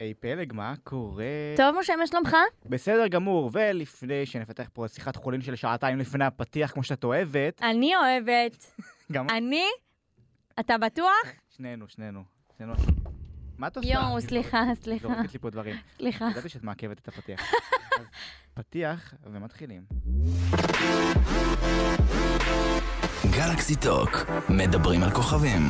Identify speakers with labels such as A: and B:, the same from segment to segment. A: היי פלג, מה קורה?
B: טוב, משה, מה שלומך?
A: בסדר גמור, ולפני שנפתח פה שיחת חולין של שעתיים לפני הפתיח, כמו שאת אוהבת,
B: אני אוהבת.
A: גם אה,
B: אני? אתה בטוח?
A: שנינו, שנינו. שנינו. מה את עושה?
B: יואו, סליחה, סליחה,
A: זורקת לי פה דברים.
B: סליחה.
A: ידעתי שאת מעכבת את הפתיח. אז פתיח ומתחילים.
C: גלקסי טוק, מדברים על כוכבים.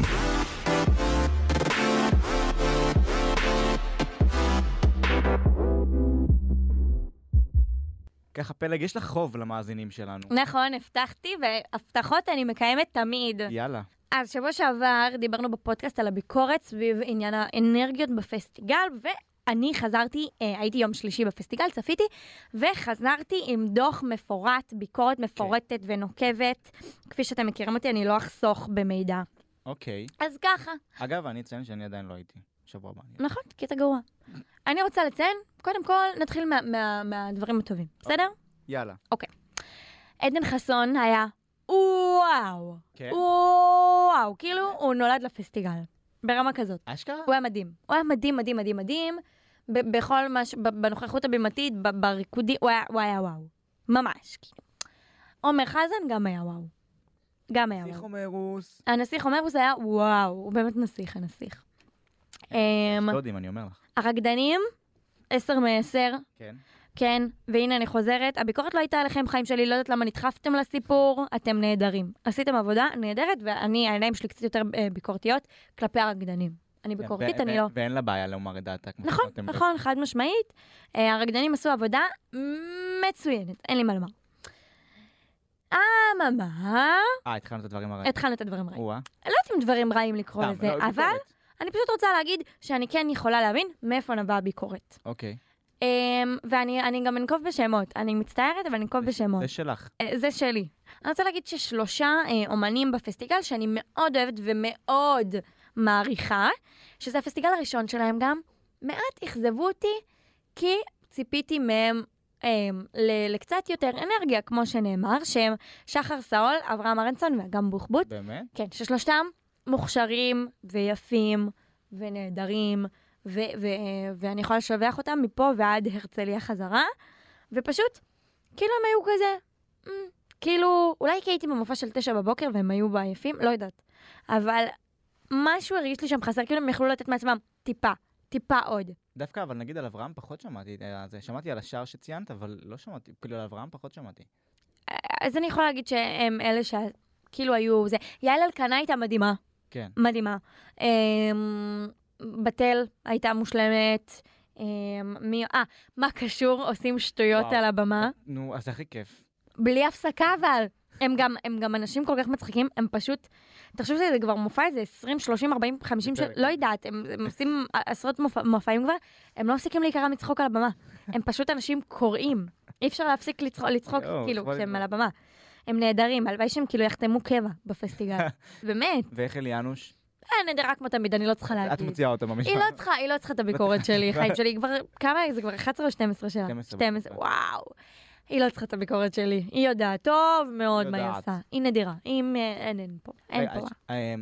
A: ככה פלג, יש לך חוב למאזינים שלנו.
B: נכון, הבטחתי, והבטחות אני מקיימת תמיד.
A: יאללה.
B: אז שבוע שעבר דיברנו בפודקאסט על הביקורת סביב עניין האנרגיות בפסטיגל, ואני חזרתי, אה, הייתי יום שלישי בפסטיגל, צפיתי, וחזרתי עם דוח מפורט, ביקורת מפורטת ונוקבת. כפי שאתם מכירים אותי, אני לא אחסוך במידע.
A: אוקיי.
B: אז ככה,
A: אגב, אני אציין שאני עדיין לא הייתי. שבוע הבא. אני-
B: נכון, כי אתה גרוע. אני רוצה לציין, קודם כל, נתחיל מה- מה- מהדברים הטובים, בסדר?
A: יאללה.
B: עדן חסון היה וואו,
A: כן?
B: וואו, כאילו הוא נולד לפסטיגל, ברמה כזאת.
A: אשכרה?
B: הוא היה מדהים, הוא היה מדהים, מדהים, מדהים, מדהים, ב- בכל מה ש... ב- בנוכחות הבימתית, ב- בריקודי, הוא היה, הוא היה וואו, ממש. כאילו. עומר חזן גם היה וואו, גם היה
A: שיח
B: וואו.
A: הומרוס.
B: הנסיך עומר זה היה וואו, הוא באמת נסיך הנסיך. אמ,
A: לא יודעים, אני אומר לך.
B: הרקדנים, 10 מ-10,
A: כן.
B: כן, והנה אני חוזרת, הביקורת לא הייתה עליכם, חיים שלי, לא יודעת למה נדחפתם לסיפור, אתם נהדרים. עשיתם עבודה נהדרת, ואני, העיניים שלי קצת יותר אה, ביקורתיות כלפי הרקדנים. אני ביקורתית,
A: ו-
B: אני
A: כן, ו-
B: לא...
A: ואין לה בעיה לומר את דעתה. כמו
B: נכון,
A: שאתם-
B: נכון, חד משמעית. אה, הרקדנים עשו עבודה מצוינת, אין לי מה לומר. אממה,
A: אה, התחלנו את הדברים הרעים.
B: התחלנו את הדברים רעים.
A: או-אה.
B: אני לא יודעת אם דברים רעים לקרוא
A: סתם,
B: לזה,
A: לא,
B: אבל
A: ביקורת.
B: אני פשוט רוצה להגיד שאני כן יכולה להבין מאיפה נבעה הביקורת.
A: אוקיי.
B: אמ, ואני אני גם אנקוב בשמות, אני מצטערת אבל אנקוב בשמות,
A: זה שלך.
B: אה, זה שלי. אני רוצה להגיד ששלושה אה, אומנים בפסטיגל שאני מאוד אוהבת ומאוד מעריכה, שזה הפסטיגל הראשון שלהם גם, מעט אכזבו אותי, כי ציפיתי מהם אה, ל- לקצת יותר אנרגיה, כמו שנאמר, שהם שחר סאול, אברהם ארנסון ואגם בוחבוט.
A: באמת?
B: כן, ששלושתם מוכשרים ויפים ונהדרים, ו- ו- ואני יכולה לשבח אותם מפה ועד הרצליה חזרה, ופשוט, כאילו הם היו כזה, "מ, כאילו, אולי כי הייתי במופע של תשע בבוקר והם היו עייפים, לא יודעת, אבל משהו הרגיש לי שם חסר, כאילו הם יכלו לתת מעצמם טיפה, טיפה עוד.
A: דווקא, אבל נגיד על אברהם פחות שמעתי. אה, זה- שמעתי על השער שציינת, אבל לא שמעתי. כאילו, על אברהם פחות שמעתי.
B: אז אני יכולה להגיד שהם אלה שכאילו היו זה. יעל אלקנה הייתה מדהימה.
A: כן.
B: מדהימה. אמ, בתל הייתה מושלמת. אמ, מי... אה, מה קשור? עושים שטויות
A: וואו.
B: על הבמה.
A: נו, אז זה הכי כיף.
B: בלי הפסקה אבל. הם גם, הם גם אנשים כל כך מצחיקים, הם פשוט, תחשוב שזה כבר מופע איזה 20, 30, 40, 50, של...
A: בפרק.
B: לא יודעת, הם, הם עושים עשרות מופע, מופעים כבר, הם לא מפסיקים להיקרע מצחוק על הבמה. הם פשוט אנשים קוראים, אי אפשר להפסיק לצחוק, לצחוק
A: יואו,
B: כאילו,
A: כבר-
B: כשהם על הבמה. הם נהדרים, הלוואי שהם כאילו יחתמו קבע בפסטיגל. באמת,
A: ואיך אליאנוש?
B: אה, נהדרה כמו תמיד, אני לא צריכה
A: את
B: להגיד.
A: מוציאה אותה במשפט.
B: היא לא צריכה, היא לא צריכה את הביקורת שלי, חיים שלי, היא כבר, כמה, זה כבר 11 או 12 שלה?
A: 12,
B: 12, וואו. היא לא צריכה את הביקורת שלי, היא יודעת טוב מאוד מה היא
A: יודעת.
B: עושה, היא נדירה, היא, מ- אין, אין פה, אין
A: רגע,
B: פה.
A: אז, אה,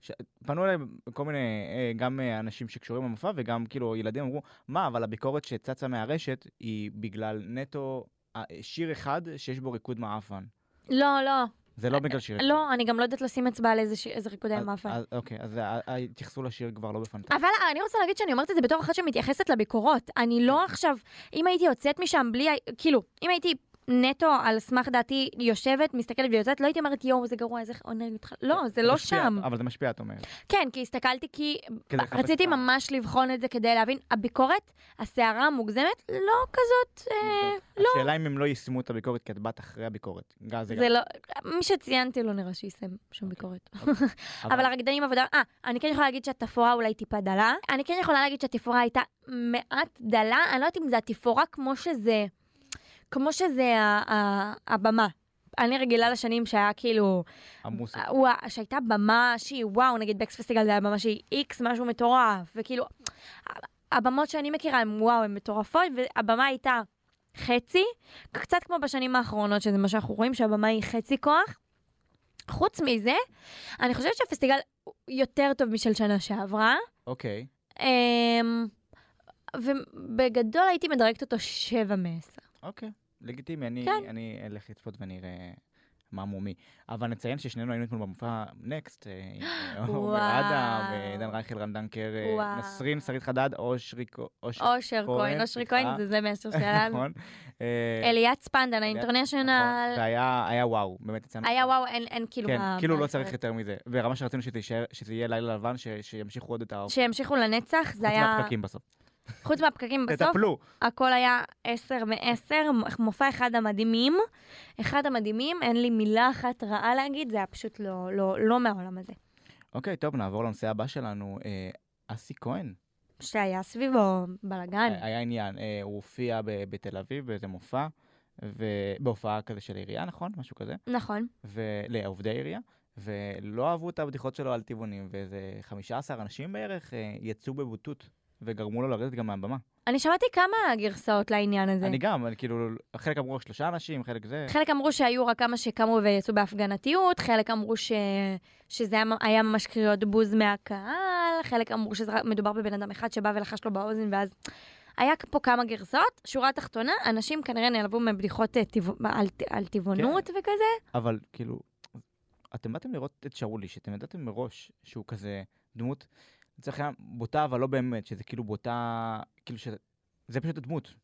A: ש- פנו אליי כל מיני, אה, גם אה, אנשים שקשורים למופע וגם כאילו ילדים אמרו, מה, אבל הביקורת שצצה מהרשת היא בגלל נטו אה, שיר אחד שיש בו ריקוד מעפן.
B: לא, לא,
A: זה לא בגלל שיר אחד.
B: לא, אני גם לא יודעת לשים אצבע על איזה ש- איזה ריקודי
A: אז-
B: המאפה.
A: אז- אוקיי, אז אה, אה, התייחסו לשיר כבר לא בפנטזיה.
B: אבל אה, אני רוצה להגיד שאני אומרת את זה בתור אחת שמתייחסת לביקורות. אני
A: כן.
B: לא עכשיו, אם הייתי יוצאת משם בלי, ה- כאילו, אם הייתי נטו על סמך דעתי יושבת, מסתכלת ויוצאת, לא הייתי אומרת יואו, זה גרוע, איזה אונרגיות. ח-" לא, זה לא
A: משפיע,
B: שם.
A: אבל זה משפיע, את אומרת.
B: כן, כי הסתכלתי, כי
A: כדי לחפש
B: רציתי
A: פעם.
B: ממש לבחון את זה כדי להבין, הביקורת, הסערה המוגזמת, לא כזאת, אה, לא,
A: השאלה אם הם לא יישמו את הביקורת, כי את באת אחרי הביקורת. גם זה
B: זה לא, מי שציינתי לא נראה שיישם שום ביקורת.
A: גם-
B: אבל הרקדנים עבודה, אה, אני כן יכולה להגיד שהתפאורה אולי טיפה דלה, אני כן יכולה להגיד שהתפאורה הייתה מעט דלה, אני לא יודעת אם זה התפאורה כמו שזה, כמו שזה ה- ה- הבמה. אני רגילה לשנים שהיה כאילו,
A: המוסיקה.
B: וואו, שהייתה במה שהיא וואו, נגיד בקס פסטיגל זה היה במה שהיא איקס, משהו מטורף, וכאילו, הבמות שאני מכירה הן וואו, הן מטורפות, והבמה הייתה חצי, קצת כמו בשנים האחרונות, שזה מה שאנחנו רואים, שהבמה היא חצי כוח. חוץ מזה, אני חושבת שהפסטיגל יותר טוב משל שנה שעברה,
A: אוקיי.
B: אמ, ובגדול הייתי מדרגת אותו שבע מעשר.
A: אוקיי, לגיטימי, אני,
B: כן.
A: אני אלך לצפות ואני אראה מה מומי. אבל נציין ששנינו היינו אתמול במופע נקסט, אה, עם עומר אדם,
B: וואו.
A: ודן רייכל, רן דנקר, אה,
B: וואו.
A: נסרין, שרית חדד, אושרי כ- אושר
B: אושר כהן, אושרי כהן,
A: סליחה.
B: זה זה מאשר שלנו.
A: נכון. אה,
B: אליעד ספנדן,
A: אליעד,
B: האינטרנשיונל,
A: נכון, והיה היה וואו, באמת יצאנו.
B: היה וואו, אין, אין כאילו...
A: כן,
B: מה-
A: כאילו
B: מה
A: לא
B: לעשות.
A: צריך יותר מזה. ורמה שרצינו שתישאר, שזה יהיה לילה לבן, ש- שימשיכו עוד את ה...
B: שהמשיכו לנצח, זה היה...
A: חוץ מהפקקים בסוף.
B: חוץ מהפקקים בסוף,
A: תטפלו.
B: הכל היה עשר מעשר, מ- מופע אחד המדהימים. אחד המדהימים, אין לי מילה אחת רעה להגיד, זה היה פשוט לא, לא, לא מהעולם הזה.
A: אוקיי, טוב, נעבור לנושא הבא שלנו. אה, אסי כהן.
B: שהיה סביבו בלאגן.
A: היה עניין, אה, הוא הופיע ב- בתל אביב באיזה מופע, ו- בהופעה כזה של עירייה, נכון? משהו כזה.
B: נכון.
A: ולעובדי עירייה, ולא אהבו את הבדיחות שלו על טבעונים, ואיזה 15 אנשים בערך אה, יצאו בבוטות, וגרמו לו לרדת גם מהבמה.
B: אני שמעתי כמה גרסאות לעניין הזה.
A: אני גם, אני כאילו, חלק אמרו שלושה אנשים, חלק זה.
B: חלק אמרו שהיו רק כמה שקמו ויצאו בהפגנתיות, חלק אמרו ש... שזה היה, היה ממש קריאות בוז מהקהל, חלק אמרו שמדובר בבן אדם אחד שבא ולחש לו באוזן, ואז היה פה כמה גרסאות. שורה תחתונה, אנשים כנראה נעלבו מבדיחות אה, טבע... על, על טבעונות
A: כן.
B: וכזה.
A: אבל כאילו, אתם באתם לראות את שאולי, שאתם ידעתם מראש שהוא כזה דמות, לצורך העניין, בוטה, אבל לא באמת, שזה כאילו בוטה, כאילו ש... זה פשוט הדמות.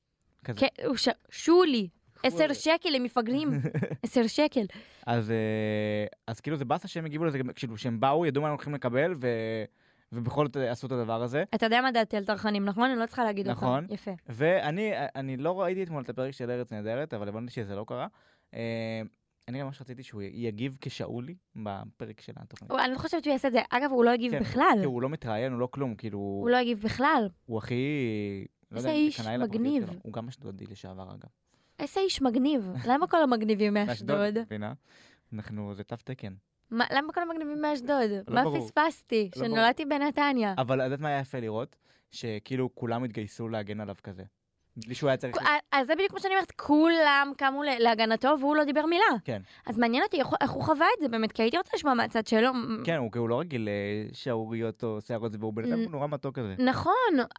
A: כזה.
B: כן, הוא ש... שולי, עשר שקל למפגרים, עשר שקל.
A: אז, אה, אז כאילו זה באסה שהם הגיבו לזה, גם- כאילו שהם באו, ידעו מה הם הולכים לקבל, ו... ובכל זאת אה, עשו את הדבר הזה.
B: אתה יודע מה דעתי על טרחנים, נכון? אני לא צריכה להגיד לך.
A: נכון.
B: יפה.
A: ואני אני לא ראיתי אתמול את הפרק של ארץ נהדרת, אבל הבנתי שזה לא קרה. אה, אני ממש רציתי שהוא יגיב כשאולי בפרק של התוכנית.
B: הוא- אני לא חושבת שהוא יעשה את זה. אגב, הוא לא הגיב
A: כן,
B: בכלל.
A: כי הוא לא מתראיין, הוא לא כלום, כאילו...
B: הוא לא הגיב בכלל.
A: הוא הכי... לא
B: איזה
A: יודע,
B: איש
A: קנאי לפרטיות
B: מגניב.
A: שלו. הוא גם אשדודי לשעבר, אגב.
B: איזה איש מגניב. למה כל המגניבים מאשדוד?
A: מבינה? אנחנו, זה תו תקן.
B: מה- למה כל המגניבים מאשדוד? מה
A: ברור.
B: פספסתי?
A: לא ברור.
B: שנולדתי בנתניה.
A: אבל את יודעת מה היה יפה לראות? שכאילו כולם התגייסו להגן עליו כזה. בלי שהוא היה צריך...
B: כ- אז זה בדיוק מה שאני אומרת, כולם קמו ל- להגנתו והוא לא דיבר מילה.
A: כן.
B: אז מעניין אותי איך הוא- איך הוא חווה את זה באמת, כי הייתי רוצה לשמוע מהצד שלו.
A: כן, הוא כאילו לא רגיל לשעוריות או שערות זה, והוא בן אדם
B: נ-
A: הוא נורא מתוק כזה.
B: נכון,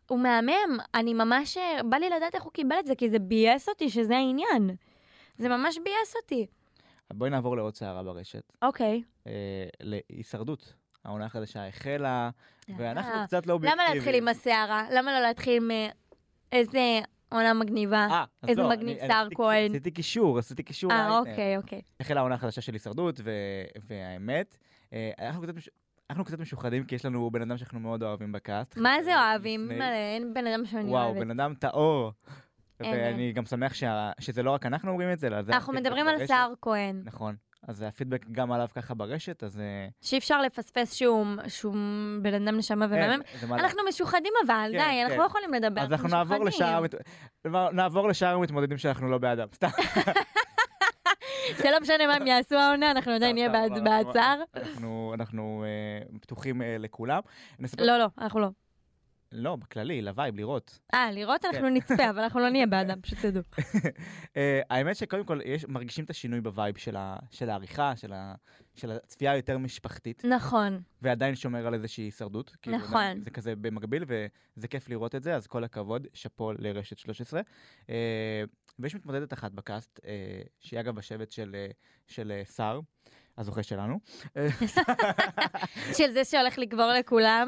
B: הוא מהמם, אני ממש, אה, בא לי לדעת איך הוא קיבל את זה, כי זה ביאס אותי שזה העניין. זה ממש ביאס אותי.
A: בואי נעבור לעוד סערה ברשת.
B: אוקיי.
A: אה, להישרדות. העונה החדשה החלה, ואנחנו
B: אה,
A: קצת לא אובייקטיביים.
B: למה להתחיל עם הסערה? למה לא להתחיל עם אה, איזה עונה מגניבה?
A: אה, אז
B: איזה
A: לא, אני-
B: מגניב
A: אני
B: סער
A: עשיתי-
B: כהן.
A: עשיתי קישור, עשיתי קישור.
B: אה,
A: לאייטם.
B: אוקיי, אוקיי.
A: החלה העונה החדשה של הישרדות, ו- והאמת, אה, אנחנו קצת, מש... אנחנו קצת משוחדים, כי יש לנו בן אדם שאנחנו מאוד אוהבים בקאסט.
B: מה זה
A: אה,
B: אוהבים?
A: לפני-
B: מלא, אין בן אדם שאני
A: וואו,
B: אוהבת.
A: בן אדם טהור.
B: אין,
A: ואני גם שמח שה... שזה לא רק אנחנו אומרים את זה, אלא זה...
B: אנחנו
A: הפידבק
B: מדברים על
A: ברשת.
B: סער כהן,
A: נכון. אז זה הפידבק גם עליו ככה ברשת, אז... אה,
B: שאי אפשר לפספס שהוא שהוא בן אדם נשמה ומהמם.
A: כן, זה מה-
B: אנחנו משוחדים אבל,
A: כן,
B: די,
A: כן.
B: אנחנו לא יכולים לדבר,
A: אז אנחנו נעבור
B: משוחדים.
A: לשאר... המת- נעבור לשאר המתמודדים שאנחנו לא בעדם. סתם.
B: זה לא משנה מה הם יעשו העונה, אנחנו עדיין נהיה
A: סתם,
B: בעד-
A: אבל אנחנו-
B: בעד סער.
A: אנחנו- אנחנו אה, פתוחים אה, לכולם. נספר-
B: לא, לא, אנחנו לא.
A: לא, בכללי, לווייב, לראות.
B: אה,
A: כן.
B: לראות אנחנו נצפה, אבל אנחנו לא נהיה בעדם, פשוט תדעו.
A: אה, האמת שקודם כל, יש, מרגישים את השינוי בווייב של, ה, של העריכה, של, ה, של הצפייה היותר משפחתית,
B: נכון,
A: ועדיין שומר על איזושהי הישרדות. כאילו,
B: נכון.
A: עדיין זה כזה במקביל, וזה כיף לראות את זה, אז כל הכבוד, שאפו לרשת 13. אה, ויש מתמודדת אחת בקאסט, אה, שהיא אגב בשבט של, אה, של אה, שר, הזוכה שלנו.
B: של זה שהולך לגבור לכולם,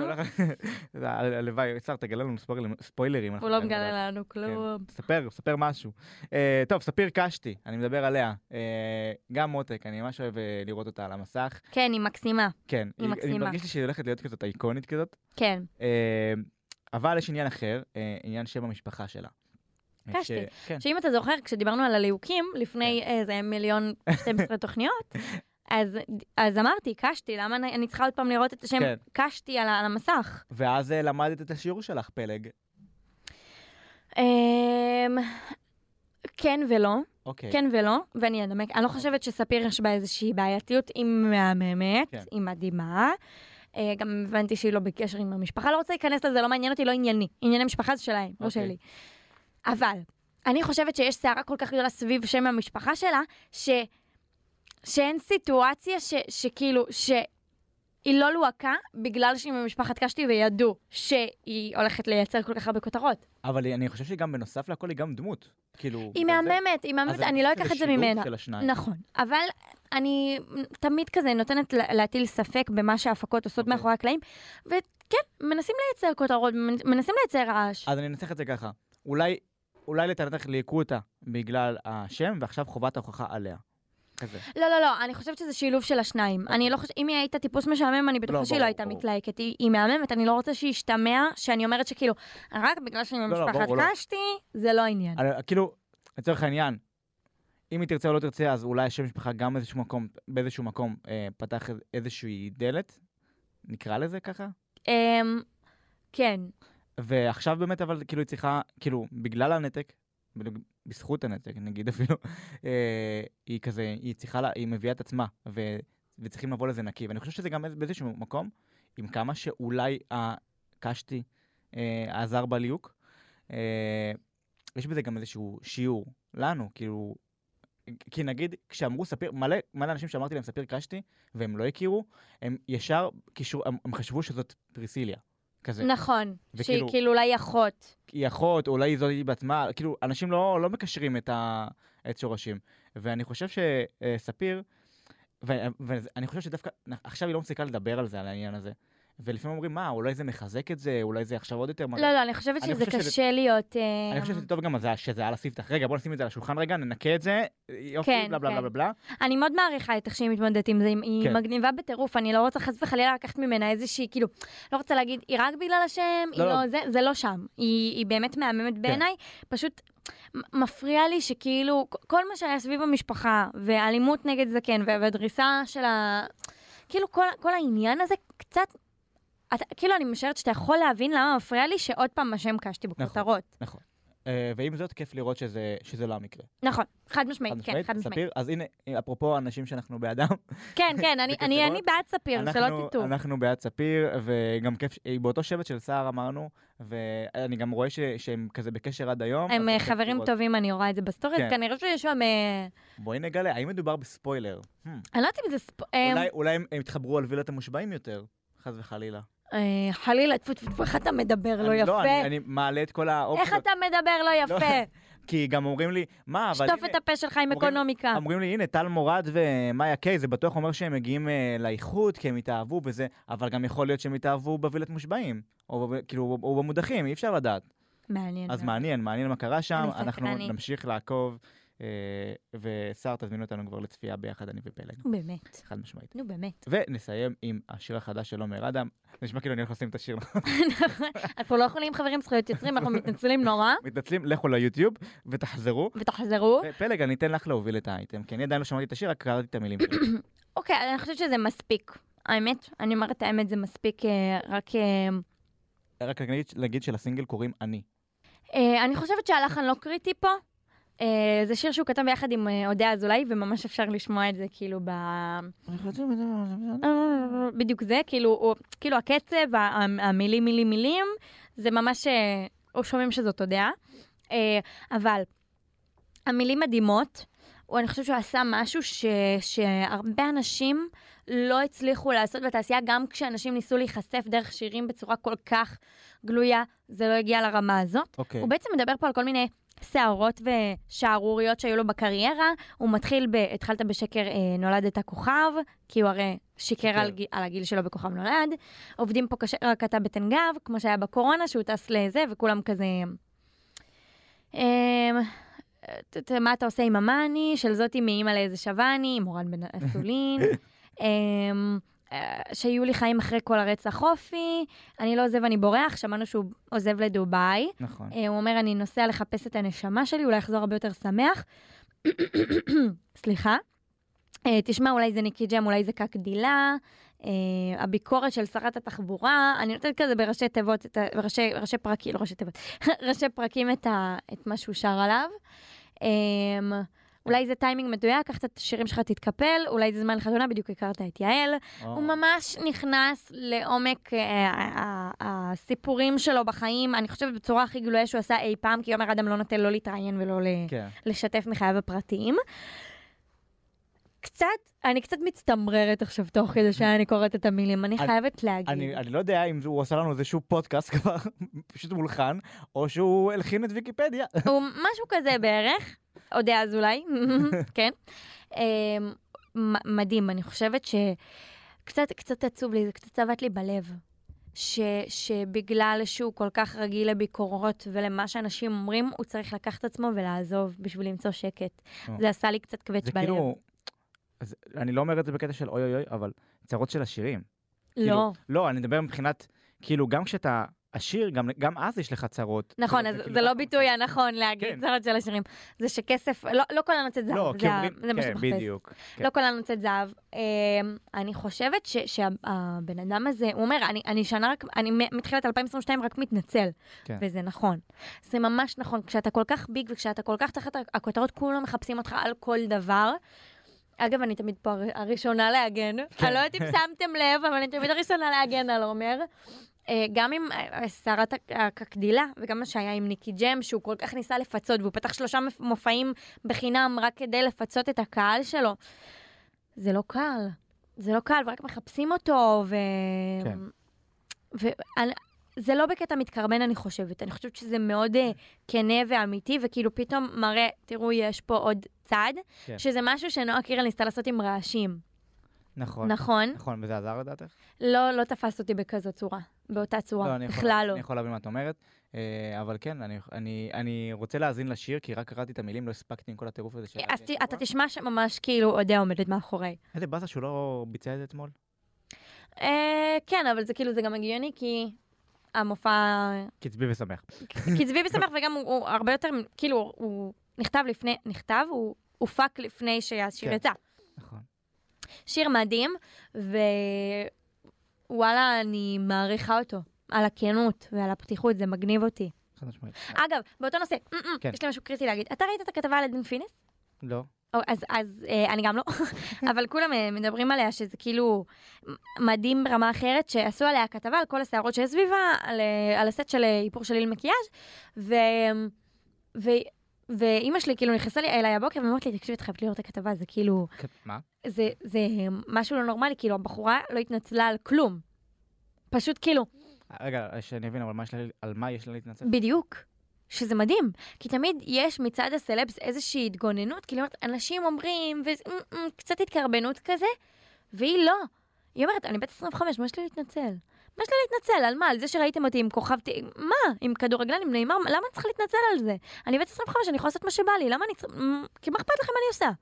A: ה- הלוואי, שר, תגלה לנו ספוילרים- ספוילרים.
B: הוא
A: אנחנו
B: לא
A: עדיין
B: מגלה
A: בבעיה.
B: לנו כלום.
A: כן, ספר, ספר משהו. אה, טוב, ספיר קשתי, אני מדבר עליה. אה, גם מותק, אני ממש אוהב אה, לראות אותה על המסך.
B: כן, היא מקסימה,
A: כן,
B: היא
A: אני
B: מקסימה.
A: מרגיש לי שהיא הולכת להיות כזאת אייקונית כזאת.
B: כן.
A: אה, אבל יש עניין אחר, אה, עניין שם המשפחה שלה.
B: קשתי.
A: ש- כן,
B: שאם אתה זוכר, כשדיברנו על הליהוקים, לפני אה, איזה מיליון 12 תוכניות, אז, אז אמרתי, קשתי, למה אני, אני צריכה עוד פעם לראות את השם
A: כן.
B: קשתי על, ה- על המסך?
A: ואז אה, למדת את השיעור שלך, פלג.
B: אמ, כן ולא,
A: אוקיי.
B: כן ולא, ואני אנמק. אני לא חושבת שספיר יש בה איזושהי בעייתיות, היא מהממת,
A: כן.
B: היא מדהימה. אה, גם הבנתי שהיא לא בקשר עם המשפחה, לא רוצה להיכנס לזה, לא מעניין אותי, לא ענייני. ענייני משפחה זה שלהם, לא
A: אוקיי.
B: שלי. אבל, אני חושבת שיש סערה כל כך גדולה סביב שם המשפחה שלה, ש... שאין סיטואציה ש... שכאילו, ש... היא לא לוהקה בגלל שהיא ממשפחת קשתי וידעו שהיא הולכת לייצר כל כך הרבה כותרות.
A: אבל אני חושב שהיא גם בנוסף להכל היא גם דמות. כאילו...
B: היא
A: בגלל זה-
B: מהממת, היא
A: אז
B: מהממת, אני לא
A: חושב
B: אקח את
A: שזה
B: זה ממנה.
A: שילוב של השניים.
B: נכון, אבל אני תמיד כזה נותנת לה- להטיל ספק במה שההפקות עושות
A: אוקיי.
B: מאחורי הקלעים, וכן, מנסים לייצר כותרות, מנסים לייצר רעש.
A: אז אני אנצח את זה ככה. אולי, אולי לטענתך ליהקו אותה בגלל השם, ועכשיו חובת ההוכחה עליה. כזה.
B: לא, לא, לא, אני חושבת שזה שילוב של השניים. אני לא חושבת, אם היא הייתה טיפוס משעמם, אני
A: אוקיי.
B: בטוחה
A: לא,
B: שהיא
A: ברור,
B: לא הייתה
A: ברור.
B: מתלהקת. היא היא מהממת, אני לא רוצה שישתמע שאני אומרת שכאילו, רק בגלל שאני
A: לא,
B: ממשפחת
A: ברור, לא.
B: קשתי, זה לא העניין.
A: על- כאילו, לצורך העניין, אם היא תרצה או לא תרצה, אז אולי השם שלך גם באיזשהו מקום, באיזשהו מקום אה, פתח איז- איזושהי דלת, נקרא לזה ככה. אה.
B: אמ, כן,
A: ועכשיו באמת, אבל כאילו היא צריכה, כאילו, בגלל הנתק, בדיוק בזכות הנתק, נגיד אפילו, אה, היא כזה, היא צריכה, לה, היא מביאה את עצמה, ו, וצריכים לבוא לזה נקי. ואני חושב שזה גם איזה- באיזשהו מקום, עם כמה שאולי הקשתי אה, עזר בליהוק, אה, יש בזה גם איזשהו שיעור לנו, כאילו... כי נגיד, כשאמרו ספיר, מלא, מלא אנשים שאמרתי להם ספיר קשתי, והם לא הכירו, הם ישר, קישור, הם, הם חשבו שזאת פריסיליה. כזה.
B: נכון. שהיא
A: וכאילו-
B: כאילו אולי אחות.
A: היא אחות, אולי היא זאת היא בעצמה, כאילו, אנשים לא, לא מקשרים את, ה, את שורשים. ואני חושב אה, שספיר, ואני חושב שדווקא, עכשיו היא לא מפסיקה לדבר על זה, על העניין הזה. ולפעמים אומרים, מה, אולי זה מחזק את זה, אולי זה עכשיו עוד יותר...
B: לא, לא, אני חושבת
A: אוקיי. אני
B: שזה
A: חושב שזה-
B: קשה להיות...
A: אני
B: אמ,
A: חושב שזה טוב גם זה- שזה על הספתח. רגע, בוא נשים את זה על השולחן רגע, ננקה את זה, יופי,
B: כן,
A: בלה בלה
B: כן.
A: בלה בלה בלה.
B: אני מאוד מעריכה את איך שהיא מתמודדת עם זה, היא- היא
A: כן.
B: מגניבה בטירוף, אני לא רוצה חס וחלילה לקחת ממנה איזושהי, כאילו, לא רוצה להגיד, היא רק בגלל השם,
A: לא,
B: היא
A: כן.
B: לא
A: לא.
B: זה, זה לא שם. היא היא באמת מהממת בעיניי, פשוט מ- מפריע לי שכאילו, כ- כל מה שהיה סביב המשפחה, ואלימות נגד זקן, ו- והדריסה של ה... כאילו, כל, כל העניין הזה קצת... אתה, כאילו, אני משערת שאתה יכול להבין למה מפריע לי שעוד פעם השם קשתי
A: נכון.
B: בכותרות.
A: אה, ועם זאת, כיף לראות שזה, שזה לא המקרה.
B: נכון, חד משמעית,
A: חד
B: כן, חד משמעית.
A: ספיר, אז הנה, אפרופו אנשים שאנחנו בעדם,
B: כן, כן, אני,
A: בכיף
B: אני, אני
A: לראות.
B: בעד ספיר, כן, שלא
A: אנחנו,
B: תטעו.
A: אנחנו בעד ספיר, וגם כיף, ש- היא באותו שבט של סער אמרנו, ואני גם רואה ש, שהם כזה בקשר עד היום.
B: הם
A: אז
B: אה,
A: כיף
B: חברים
A: לראות.
B: טובים, אני רואה את זה בסטורי, אז
A: כן.
B: כנראה שיש שם... אה,
A: בואי נגלה, האם מדובר בספוילר? Hmm.
B: אני לא יודעת אם זה ספ... אה,
A: אולי, אולי הם, הם התחברו על וילת המושבעים יותר, חס וחלילה.
B: אה, חלילה, טפו טפו טפו, איך אתה מדבר לא
A: אני- לא, אני,
B: יפה?
A: אני מעלה את כל האופציות.
B: איך אתה מדבר לא
A: לא,
B: יפה?
A: כי גם אומרים לי, מה, אבל...
B: שטוף
A: הנה-
B: את הפה שלך עם
A: אומרים-
B: אקונומיקה.
A: אומרים לי, הנה, טל מורד ומאיה קיי, זה בטוח אומר שהם מגיעים אה, לאיחוד, כי הם התאהבו בזה, אבל גם יכול להיות שהם התאהבו בווילת מושבעים, או בב- כאילו, או- או במודחים, אי אפשר לדעת.
B: מעניין.
A: אז
B: מאוד.
A: מעניין, מעניין מה קרה שם,
B: כן, אוקיי. אני
A: אנחנו
B: סקרנית.
A: נמשיך לעקוב, אה, ושר תזמינו אותנו כבר לצפייה ביחד, אני ופלג,
B: נו באמת,
A: חד משמעית.
B: נו באמת.
A: ונסיים עם השיר החדש של עומר אדם, זה נשמע כאילו אני הולך לשים את השיר,
B: אנחנו לא יכולים, חברים, זכויות יוצרים, אנחנו מתנצלים נורא,
A: מתנצלים, לכו ליוטיוב ותחזרו.
B: ותחזרו.
A: ופלג, אני אתן לך להוביל את האייטם, כי אני עדיין לא שמעתי את השיר, רק קראתי את המילים שלו.
B: אוקיי, אני חושבת שזה מספיק. האמת, אני אומרת את האמת, זה מספיק אה, רק... אה,
A: רק להגיד- להגיד שלסינגל קוראים אני.
B: אה, אני חושבת שהלחן לא קריטי פה. אה, זה שיר שהוא כתב ביחד עם אה, אודיה אזולאי, וממש אפשר לשמוע את זה כאילו ב... בדיוק זה, כאילו, הוא, כאילו הקצב, ה- ה- המילים, מילים, מילים, זה ממש, אה, או שומעים שזאת הודעה. אה, אבל המילים מדהימות, הוא, אני חושבת שהוא עשה משהו ש, שהרבה אנשים לא הצליחו לעשות בתעשייה, גם כשאנשים ניסו להיחשף דרך שירים בצורה כל כך גלויה, זה לא הגיע לרמה הזאת.
A: אוקיי.
B: הוא בעצם מדבר פה על כל מיני סערות ושערוריות שהיו לו בקריירה. הוא מתחיל ב... התחלת בשקר אה, נולדת כוכב, כי הוא הרי שיקר
A: שיקר.
B: על, גיל- על הגיל שלו בכוכב נולד. עובדים פה קשה, רק אתה בטן גב, כמו שהיה בקורונה, שהוא טס לזה, וכולם כזה... אה, ת- ת- מה אתה עושה עם המאני, של זאתי מאימא לאיזה שבני, עם אורן בן אסולין. אמ, אה, שהיו לי חיים אחרי כל הרצח אופי, אני לא עוזב, אני בורח, שמענו שהוא עוזב לדובאי.
A: נכון.
B: אה, הוא אומר, אני נוסע לחפש את הנשמה שלי, אולי אחזור הרבה יותר שמח. סליחה. אה, תשמע, אולי זה ניקי ג'ם, אולי זה קקדילה, אה, הביקורת של שרת התחבורה, אני נותנת כזה בראשי תיבות, את ה- ראשי, ראשי פרקים, לא ראשי תיבות, ראשי פרקים את, ה, את מה שהוא שר עליו. אה, אולי זה טיימינג מדויק, קח את השירים שלך, תתקפל, אולי זה זמן לחתונה, בדיוק הכרת את יעל.
A: או,
B: אה, הוא ממש נכנס לעומק אה, ה- ה- הסיפורים שלו בחיים, אני חושבת בצורה הכי גלויה שהוא עשה אי פעם, כי עומר אדם לא נותן לא להתראיין ולא ל-
A: כן.
B: לשתף מחייו הפרטיים. קצת, אני קצת מצטמררת עכשיו תוך כדי שאני קוראת את המילים, אני
A: אני-
B: חייבת להגיד.
A: אני, אני לא יודע אם הוא עשה לנו איזשהו פודקאסט כבר, פשוט מולחן, או שהוא הלחין את ויקיפדיה.
B: הוא משהו כזה בערך, אודה אזולאי, כן. אמ, מ- מדהים, אני חושבת שקצת קצת עצוב לי, זה קצת צבט לי בלב. ש, שבגלל שהוא כל כך רגיל לביקורות ולמה שאנשים אומרים, הוא צריך לקחת עצמו ולעזוב בשביל למצוא שקט.
A: או.
B: זה עשה לי קצת כבד
A: אה. זה
B: בלב.
A: כאילו, אז אני לא אומר את זה בקטע של אוי אוי אוי, אבל צרות של עשירים.
B: לא.
A: כאילו, לא, אני מדבר מבחינת, כאילו, גם כשאתה עשיר, גם, גם אז יש לך צרות.
B: נכון,
A: כאילו,
B: אז
A: כאילו
B: זה לא
A: אף-
B: ביטוי הנכון להגיד
A: כן.
B: צרות של השירים. זה שכסף, לא לא כל הנוצאת זהב,
A: לא, כי
B: זה ה-
A: אומרים,
B: זה מה
A: כן,
B: שאתה מחפש.
A: בדיוק. כן.
B: לא כל הנוצאת זהב. אמ, אני חושבת ש- שהבן אדם הזה, הוא אומר, "אני- אני שנה רק, אני מ- מתחילת 2022 רק מתנצל.
A: כן.
B: וזה נכון. זה ממש נכון. כשאתה כל כך ביג וכשאתה כל כך תחת הכותרות, כולם מחפשים אותך על כל דבר. אגב, אני תמיד פה הר- הראשונה להגן.
A: כן.
B: אני לא יודעת אם שמתם לב, אבל אני תמיד הראשונה להגן על עומר. אה, גם עם אה, אה, שרת הק- הקקדילה, וגם מה שהיה עם ניקי ג'ם, שהוא כל כך ניסה לפצות, והוא פתח שלושה מופ- מופעים בחינם רק כדי לפצות את הקהל שלו. זה לא קל. זה לא קל, ורק מחפשים אותו, ו...
A: כן.
B: ואני- זה לא בקטע מתקרבן, אני חושבת. אני חושבת שזה מאוד אה, כנה ואמיתי, וכאילו פתאום מראה, תראו, יש פה עוד צד,
A: כן.
B: שזה משהו שנועה קירל ניסתה לעשות עם רעשים,
A: נכון.
B: נכון?
A: נכון, וזה עזר לדעתך?
B: לא, לא תפס אותי בכזו צורה, באותה
A: לא,
B: צורה,
A: אני יכול-
B: בכלל לא.
A: אני יכול להבין מה את אומרת, אה, אבל כן, אני- אני- אני רוצה להאזין לשיר, כי רק קראתי את המילים, לא הספקתי עם כל הטירוף הזה שהיה
B: אה, אז
A: לי
B: ת-
A: השבוע.
B: אתה תשמע שממש כאילו אודה עומדת מאחורי.
A: איזה באסה שהוא לא ביצע את זה אתמול?
B: אה, כן, אבל זה כאילו, זה גם הגיוני, כי המופע
A: קצבי ושמח.
B: כי צבי משמח וגם הוא, הוא הרבה יותר, כאילו, הוא נכתב לפני, נכתב, הוא הופק לפני שהשיר
A: כן.
B: יצא.
A: נכון.
B: שיר מדהים, ווואלה, אני מעריכה אותו. על הכנות ועל הפתיחות, זה מגניב אותי.
A: חד משמעית.
B: אגב, באותו נושא, אמ, אמ,
A: כן.
B: יש לי משהו קריטי להגיד. אתה ראית את הכתבה על עדן פינס?
A: לא.
B: או, אז, אז אה, אני גם לא, אבל כולם אה, מדברים עליה שזה כאילו מ- מדהים ברמה אחרת, שעשו עליה כתבה על כל הסערות שיש סביבה, על, אה, על הסט של אה, איפור של איל מקיאז', ו... ו... ואימא שלי כאילו נכנסה לי אליי הבוקר ואמרת לי, תקשיבי, את חייבת לראות את הכתבה, זה כאילו,
A: כת- כן, מה?
B: זה, זה משהו לא נורמלי, כאילו הבחורה לא התנצלה על כלום. פשוט כאילו,
A: רגע, שאני אבין, אבל מה יש לה- על מה יש לה להתנצל?
B: בדיוק. שזה מדהים, כי תמיד יש מצד הסלבס איזושהי התגוננות, כאילו אנשים אומרים, וקצת התקרבנות כזה, והיא לא. היא אומרת, אני בת 25, מה יש לי להתנצל? מה יש לי להתנצל? על מה? על זה שראיתם אותי עם כוכב... ת- מה? עם כדורגלן, עם נאמר? למה אני צריכה להתנצל על זה? אני בת 25, אני יכולה לעשות מה שבא לי, למה אני צריכה... מ, כי מה אכפת לכם מה אני עושה?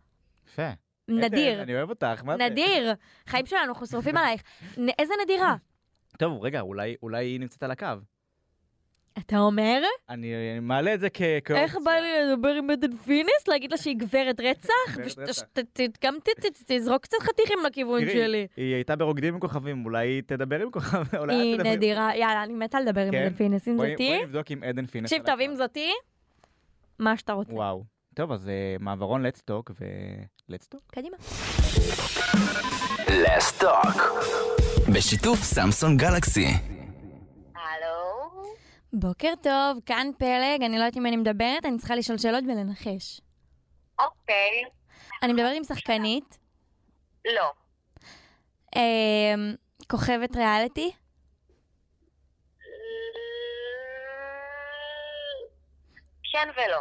A: יפה. איזה-
B: נדיר.
A: אני אוהב אותך, מה זה?
B: נדיר. חיים שלנו, אנחנו שרופים עלייך. נ- איזה נדירה.
A: טוב, רגע, אולי אולי היא נמצאת על הקו.
B: אתה אומר?
A: אני אני מעלה את זה כ... כאופציה.
B: איך בא לי לדבר עם עדן פינס? להגיד לה שהיא גברת רצח?
A: גברת רצח.
B: וגם תזרוק קצת חתיכים לכיוון
A: תראי,
B: שלי.
A: היא הייתה ברוקדים עם כוכבים, אולי היא תדבר עם כוכבים, אולי
B: היא
A: את תדברי.
B: נדירה, יאללה, אני מתה לדבר עם
A: כן?
B: עדן פינס. אם
A: בואי-
B: זאתי,
A: בואי נבדוק עם עדן פינס.
B: תקשיב
A: על
B: טוב,
A: הקו.
B: אם זאתי, מה שאתה רוצה.
A: וואו. טוב, אז אה, מעברון לטסטוק ולטסטוק.
B: קדימה.
C: לסטוק. בשיתוף סמסון גלקסי.
D: הלו?
B: בוקר טוב, כאן פלג, אני לא יודעת אם אני מדברת, אני צריכה לשאול שאלות ולנחש.
D: אוקיי.
B: אני מדברת עם שחקנית,
D: לא.
B: אמ, כוכבת ריאליטי,
D: כן ולא.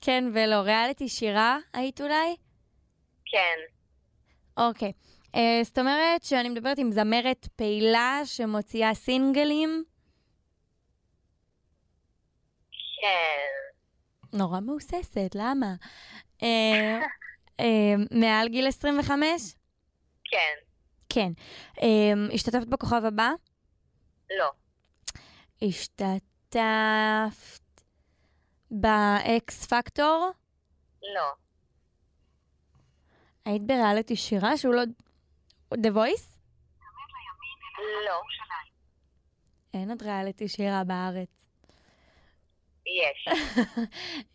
B: כן ולא, ריאליטי שירה היית אולי?
D: כן.
B: אוקיי. אה, זאת אומרת שאני מדברת עם זמרת פעילה שמוציאה סינגלים.
D: כן.
B: נורא מהוססת, למה? אה, אה, מעל גיל 25?
D: כן.
B: כן. אה, השתתפת בכוכב הבא?
D: לא.
B: השתתפת באקס פקטור?
D: לא.
B: היית בריאליטי שירה שהוא לא... The Voice?
D: לא.
B: אין עוד ריאליטי שירה בארץ.
D: יש.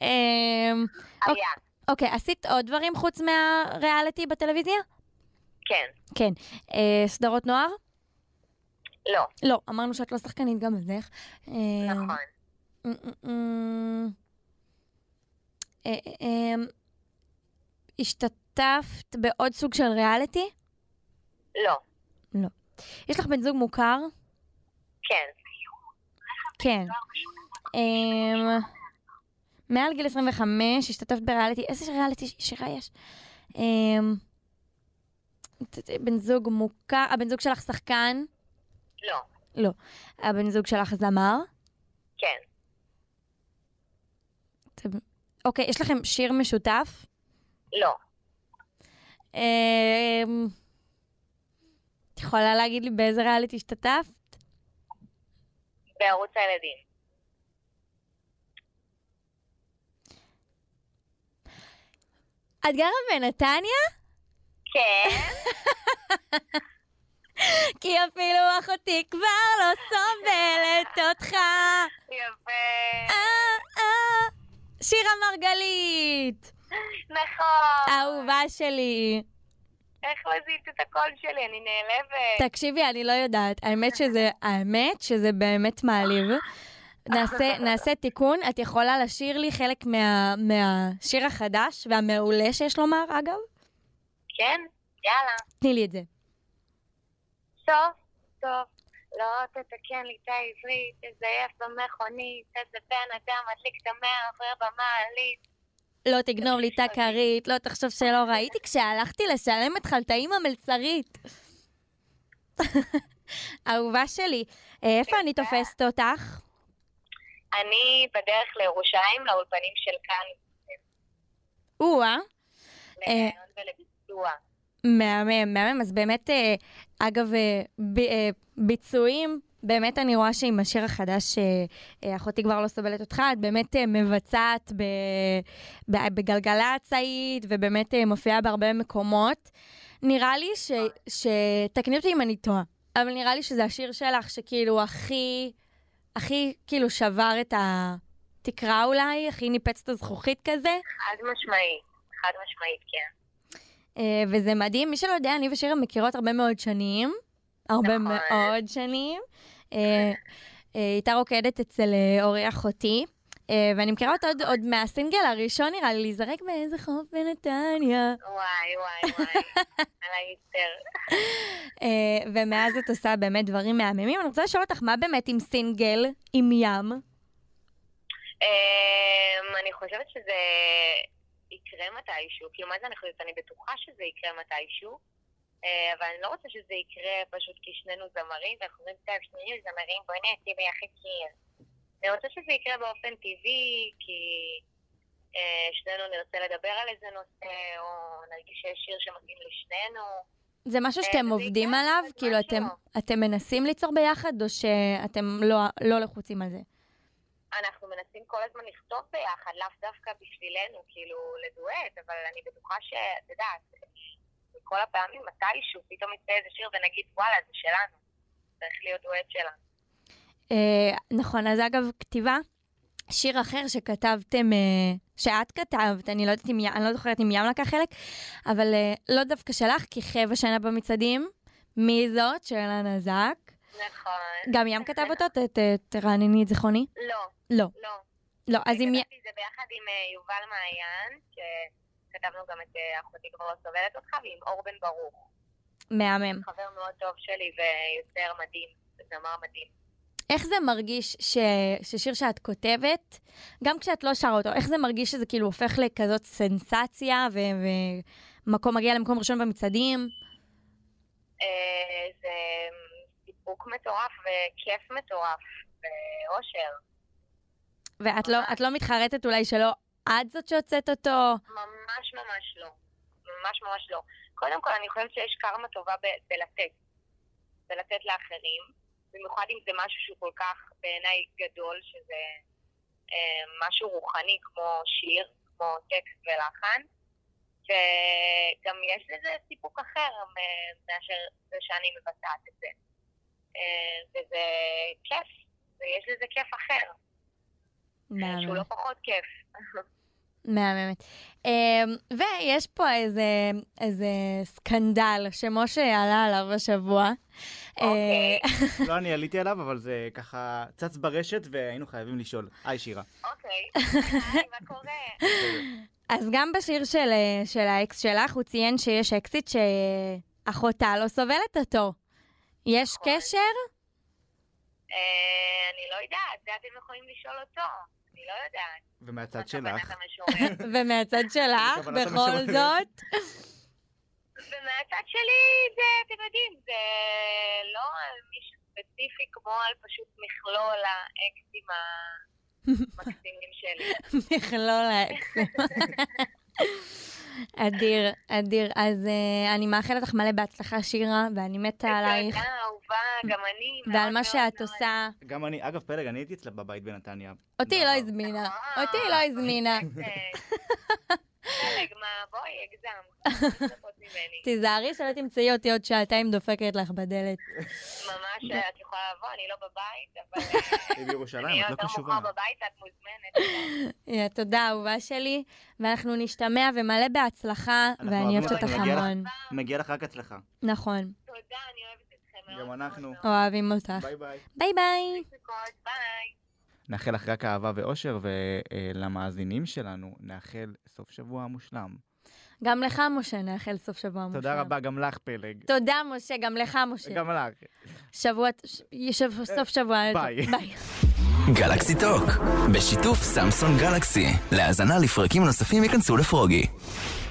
B: אה,
D: היה.
B: אוקיי, עשית עוד דברים חוץ מהריאליטי בטלוויזיה?
D: כן.
B: כן. אה, סדרות נוער?
D: לא.
B: לא, אמרנו שאת לא שחקנית גם אז איך. אה, אמ,
D: נכון.
B: אה, אה, אה, אה, אמ. השתתפת בעוד סוג של ריאליטי?
D: לא,
B: יש לך בן זוג מוכר?
D: כן,
B: כן. אמ, מעל גיל 25 השתתפת בריאליטי, איזה ריאליטי שירה יש? אמ, ת- ת- בן זוג מוכר, הבן זוג שלך שחקן,
D: לא,
B: הבן זוג שלך זמר.
D: כן,
B: אתם- אוקיי, יש לכם שיר משותף?
D: לא,
B: אמ, את יכולה להגיד לי באיזה ריאליטי השתתפת?
D: בערוץ הילדים.
B: את גרה בנתניה?
D: כן,
B: כי אפילו אחותי כבר לא סובלת אותך.
D: יפה,
B: אה, אה. שירה מרגלית,
D: נכון.
B: אהובה שלי.
D: איך לא זיהית את הקול שלי? אני נעלבת.
B: תקשיבי, אני לא יודעת. האמת שזה, האמת שזה באמת מעליב. נעשה, נעשה תיקון, את יכולה לשיר לי חלק מה, מהשיר החדש והמעולה שיש לומר, אגב?
D: כן, יאללה.
B: תני לי את זה.
D: סוף, סוף. לא תתקן לי את העברית, תזייף במכונית, איזה בן אדם מדליק את המאה עובר במעלית.
B: לא תגנוב לי את הכרית, לא תחשוב שלא ראיתי כשהלכתי לשלם את חלטאים המלצרית. אהובה שלי, אה, איפה אני תופסת אותך?
D: אני בדרך לירושלים, לאולפנים של כאן,
B: או-אה.
D: לרעיון ולביצוע.
B: מהמם, מהמם. אז באמת, אה, אגב, אה, ב- אה, ביצועים, באמת אני רואה שעם השיר החדש, אה, אה, אחותי כבר לא סובלת אותך, את באמת אה, מבצעת ב- ב- בגלגלצ היית, ובאמת אה, מופיעה בהרבה מקומות. נראה לי ש... ש... תקני אותי אם אני טועה, אבל נראה לי שזה השיר שלך שכאילו הכי, הכי כאילו שבר את התקרה אולי, הכי ניפץ את הזכוכית כזה.
D: חד משמעית, חד משמעית, כן.
B: אה, וזה מדהים, מי שלא יודע, אני ושירה מכירות הרבה מאוד שנים. הרבה
D: נכון.
B: מאוד שנים. אה, אה, הייתה רוקדת אצל אה, אורי אחותי, אה, ואני מכירה אותה עוד- עוד מהסינגל הראשון, נראה לי, להיזרק באיזה חוף בנתניה.
D: וואי, וואי, וואי, על ההיסטר.
B: אה, ומאז את עושה באמת דברים מהממים. אני רוצה לשאול אותך, מה באמת עם סינגל, עם ים?
D: אמ, אני חושבת שזה יקרה מתישהו, כאילו מה זה אני חושבת? אני בטוחה שזה יקרה מתישהו, אה, אבל אני לא רוצה שזה יקרה פשוט כי שנינו זמרים, ואנחנו אומרים טוב, שנינו זמרים, בואי נעשה ביחד שיר. אני רוצה שזה יקרה באופן טבעי, כי אה, שנינו נרצה לדבר על איזה נושא, או נרגיש שיש שיר שמתאים לשנינו.
B: זה משהו
D: אה,
B: שאתם
D: זה
B: עובדים
D: יקרה,
B: עליו?
D: זה זמן
B: כאילו, אתם- אתם מנסים ליצור ביחד, או שאתם לא- לא לחוצים על זה?
D: אנחנו מנסים כל הזמן לכתוב ביחד, לאו דווקא בשבילנו, כאילו, לדואט, אבל אני בטוחה ש... את יודעת, כל הפעמים מתישהו, פתאום יצא איזה שיר ונגיד, וואלה, זה שלנו. צריך להיות דואט שלנו.
B: אה, נכון, אז אגב, כתיבה, שיר אחר שכתבתם, אה, שאת כתבת, אני לא יודעת אם, י- אני לא זוכרת אם ים לקח חלק, אבל אה, לא דווקא שלך, כי חב השנה במצעדים, מי זאת? שאלה נזק.
D: נכון.
B: גם ים כתב אותו? ת- ת- תרענני את זיכרוני.
D: לא,
B: לא,
D: לא.
B: לא, אז אם... י-
D: כתבתי את זה ביחד עם אה, יובל מעיין, שכתבנו גם את אה, אחותי כבר לא סובלת אותך, ועם אור בן ברוך,
B: מהמם.
D: חבר מאוד טוב שלי ויוצר מדהים, זמר מדהים.
B: איך זה מרגיש ש... ששיר שאת כותבת, גם כשאת לא שרה אותו, איך זה מרגיש שזה כאילו הופך לכזאת סנסציה, ומקום מגיע למקום ראשון במצעדים?
D: אה, זה סיפוק מטורף וכיף מטורף ואושר.
B: ואת לא, את לא מתחרטת אולי שלא את זאת שהוצאת אותו?
D: ממש ממש לא. ממש ממש לא. קודם כל, אני חושבת שיש קרמה טובה ב- בלתת. בלתת לאחרים, במיוחד אם זה משהו שהוא כל כך בעיניי גדול, שזה אה, משהו רוחני כמו שיר, כמו טקסט ולחן. וגם יש לזה סיפוק אחר אה, מאשר זה שאני מבצעת את זה. אה, וזה כיף, ויש לזה כיף אחר, אה, שהוא לא פחות כיף.
B: מהממת. אמ, ויש פה איזה, איזה סקנדל שמשה עלה עליו השבוע.
D: אוקיי.
B: אה,
A: לא אני עליתי עליו, אבל זה ככה צץ ברשת והיינו חייבים לשאול. היי שירה.
D: אוקיי, היי, מה קורה?
B: אז גם בשיר של, אה, של האקס שלך, הוא ציין שיש אקסיט שאחותה לא סובלת אותו. יש
D: נכון.
B: קשר?
D: אה, אני לא יודעת, זה אתם יכולים לשאול אותו. אני לא יודעת.
A: ומהצד
D: מה
A: שלך,
D: כוונת המשורר.
B: ומהצד שלך,
A: בכוונת
B: בכל
A: המשורר.
B: זאת,
D: ומהצד שלי זה, אתם יודעים, זה לא על מישהו ספציפי כמו על פשוט מכלול האקסים המקסימים שלי.
B: מכלול האקס. אדיר, אדיר. אז אה, אני מאחלת לך מלא בהצלחה, שירה, ואני מתה עלייך,
D: תודה, אהובה, גם אני. מאוד
B: ועל מה
D: מאוד
B: שאת
D: מאוד.
B: עושה.
A: גם אני, אגב פלג, אני הייתי אצלה בבית בנתניה.
B: אותי
A: בעבר.
B: לא הזמינה.
D: אה,
B: אותי לא הזמינה.
D: פלג, מה, בואי, הגזם. פחות ממני.
B: תיזהרי שלא תמצאי אותי עוד שעתיים דופקת לך בדלת.
D: ממש אה, את יכולה לבוא, אני לא בבית, אבל
A: היא
D: אה,
A: בירושלים,
D: אני
A: את לא
D: יותר
A: קשובה.
D: מאוחר בבית, את מוזמנת.
B: אה, תודה, אהובה שלי, ואנחנו נשתמע ומלא בהצלחה,
A: אנחנו
B: ואני
A: אוהבים
B: אוהבת
A: אותך,
B: אותך
A: מגיע לך.
B: המון.
A: מגיע לך רק הצלחה.
B: נכון,
D: תודה, אני אוהבת אתכם מאוד.
A: גם אנחנו.
D: מאוד.
B: אוהבים אותך.
A: ביי.
B: ביי ביי.
D: ביי.
A: נאחל לך רק אהבה ואושר, ולמאזינים שלנו נאחל סוף שבוע מושלם.
B: גם לך, משה, נאחל סוף שבוע מושלם.
A: תודה רבה, גם לך פלג.
B: תודה, משה, גם לך, משה.
A: גם לך.
B: שבוע, ש- שב- סוף שבוע.
A: ביי.
B: ביי.
C: גלקסי טוק, בשיתוף סמסון גלקסי. להאזנה לפרקים נוספים ייכנסו לפרוגי.